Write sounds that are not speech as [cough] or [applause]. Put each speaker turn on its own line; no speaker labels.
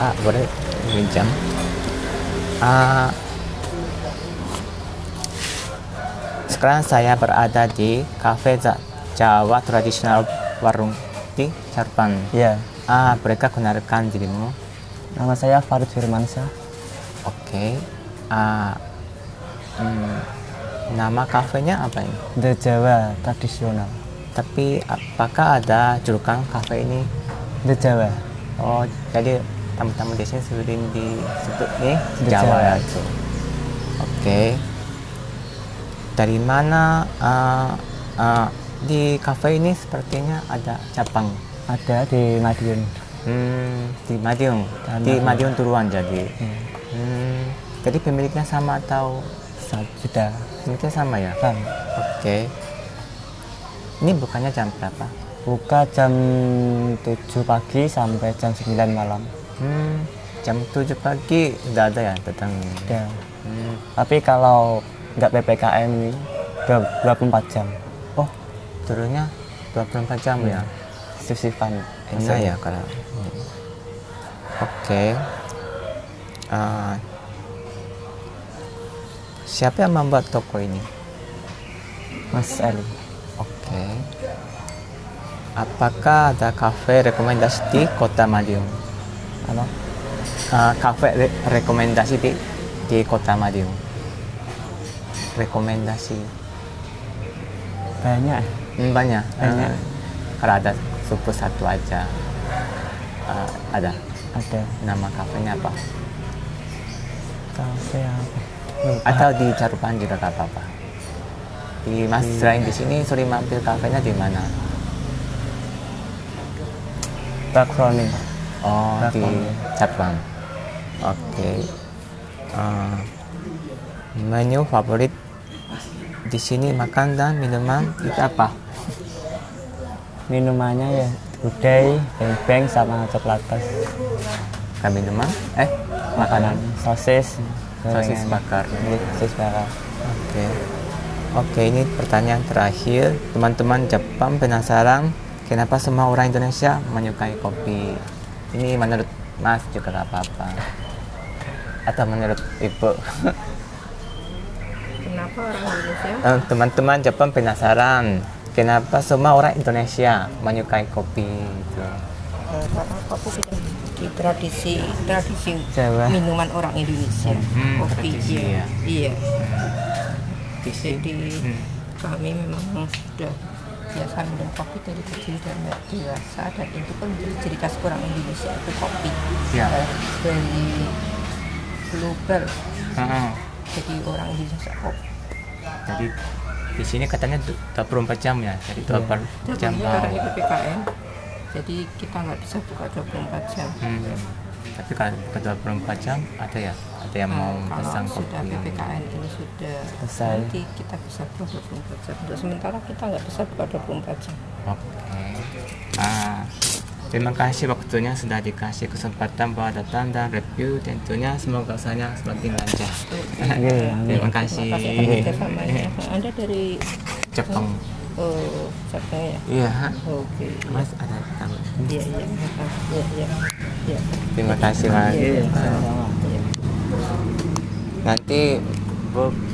あこれゆみちゃんAh, sekarang saya berada di Cafe Ja- Jawa Tradisional Warung di Serpong.
Iya,
Ah, mereka kenalkan dirimu.
nama saya Farid Firmansyah.
Oke. Ah, hmm, nama kafenya apa ini?
The Jawa tradisional.
Tapi apakah ada julukan kafe ini?
The Jawa.
Oh, jadi tamu-tamu di sini sering disebut nih
Di
Jawa
Jawa.
ya itu. Oke. Dari mana eh, eh, di kafe ini sepertinya ada cabang
Ada di Madiun.
Hmm, di Madiun,
Dan
di
Madiun.
Madiun Turuan jadi.
Iya,
Hmm, jadi pemiliknya sama atau
sa- sudah
pemiliknya sama ya?
paham.
Oke. Ini bukannya jam berapa?
Buka jam 7 pagi sampai jam 9 malam.
Hmm, jam 7 pagi udah ada ya datang.
Ada.
Hmm,
Tapi kalau nggak PPKM ini dua- 24 jam. Oh,
turunnya 24 jam ya.
shift-shiftan.
Enak ya kalau. Hmm. Oke. Ah, siapa yang membuat toko ini?
Mas Eli.
Oke. Apakah ada kafe rekomendasi di Kota Madiun?
Apa?
Ah, kafe re- rekomendasi di di Kota Madiun. Rekomendasi
Banyak.
Hmm, banyak.
Banyak.
Eh, kalau ada suku satu aja Eh, ada
Ada.
nama kafenya apa?
Kafe apa? Lupa.
Atau di Carupan juga nggak apa-apa. Di Mas selain di sini sering mampir kafenya di mana?
Bakroni.
Oh, di
Carupan.
Carupan. Oke. Eh, menu favorit di sini makan dan minuman itu apa?
Minumannya ya gudai, beng-beng sama coklat tas.
Bukan minuman? Eh, makanan.
sosis,
Sosis
gorengan.
bakar.
Iya, sosis bakar.
Oke. Oke, ini pertanyaan terakhir. Teman-teman Jepang penasaran kenapa semua orang Indonesia menyukai kopi? Ini menurut Mas juga nggak apa-apa. Atau menurut Ibu. [laughs]
Kenapa orang Indonesia?
Eh, Teman-teman Jepang penasaran kenapa semua orang Indonesia menyukai kopi? Gitu.
Eh, Karena kopi itu di tradisi tradisi
Jawa.
minuman orang Indonesia.
Hmm,
kopi
tradisi,
iya. Iya.
Di sini.
Jadi
Hmm.
kami memang sudah biasa minum kopi dari kecil dan dewasa dan itu kan menjadi ciri khas orang Indonesia itu kopi.
Iya.
Eh, Dari global
Heeh.
jadi orang Indonesia kopi.
Jadi di sini katanya du- 24 jam ya, jadi 24 jam.
Contohnya karena itu PKN, jadi kita nggak bisa buka 24 jam.
Hmm. Tapi kalau buka 24 jam ada ya? Ada yang mau
Nah,
pesan
kalau sudah
kopi?
PPKN ini sudah
Selesai.
nanti kita bisa buka 24 jam. Untuk sementara kita nggak bisa buka 24 jam.
Oke. Ah, terima kasih waktunya sudah dikasih kesempatan buat datang dan review. Tentunya semoga usahanya semakin lancar.
Iya, amin.
Terima
Terima kasih atas
kasih.
[laughs] kerjasamanya. ya. Anda dari
Jepang.
oh, siapa ya?
Iya.
Oke.
Mas ada tamu.
Iya, iya. Iya, iya. Iya.
Terima kasih Mas.
Iya, iya.
Nanti Bu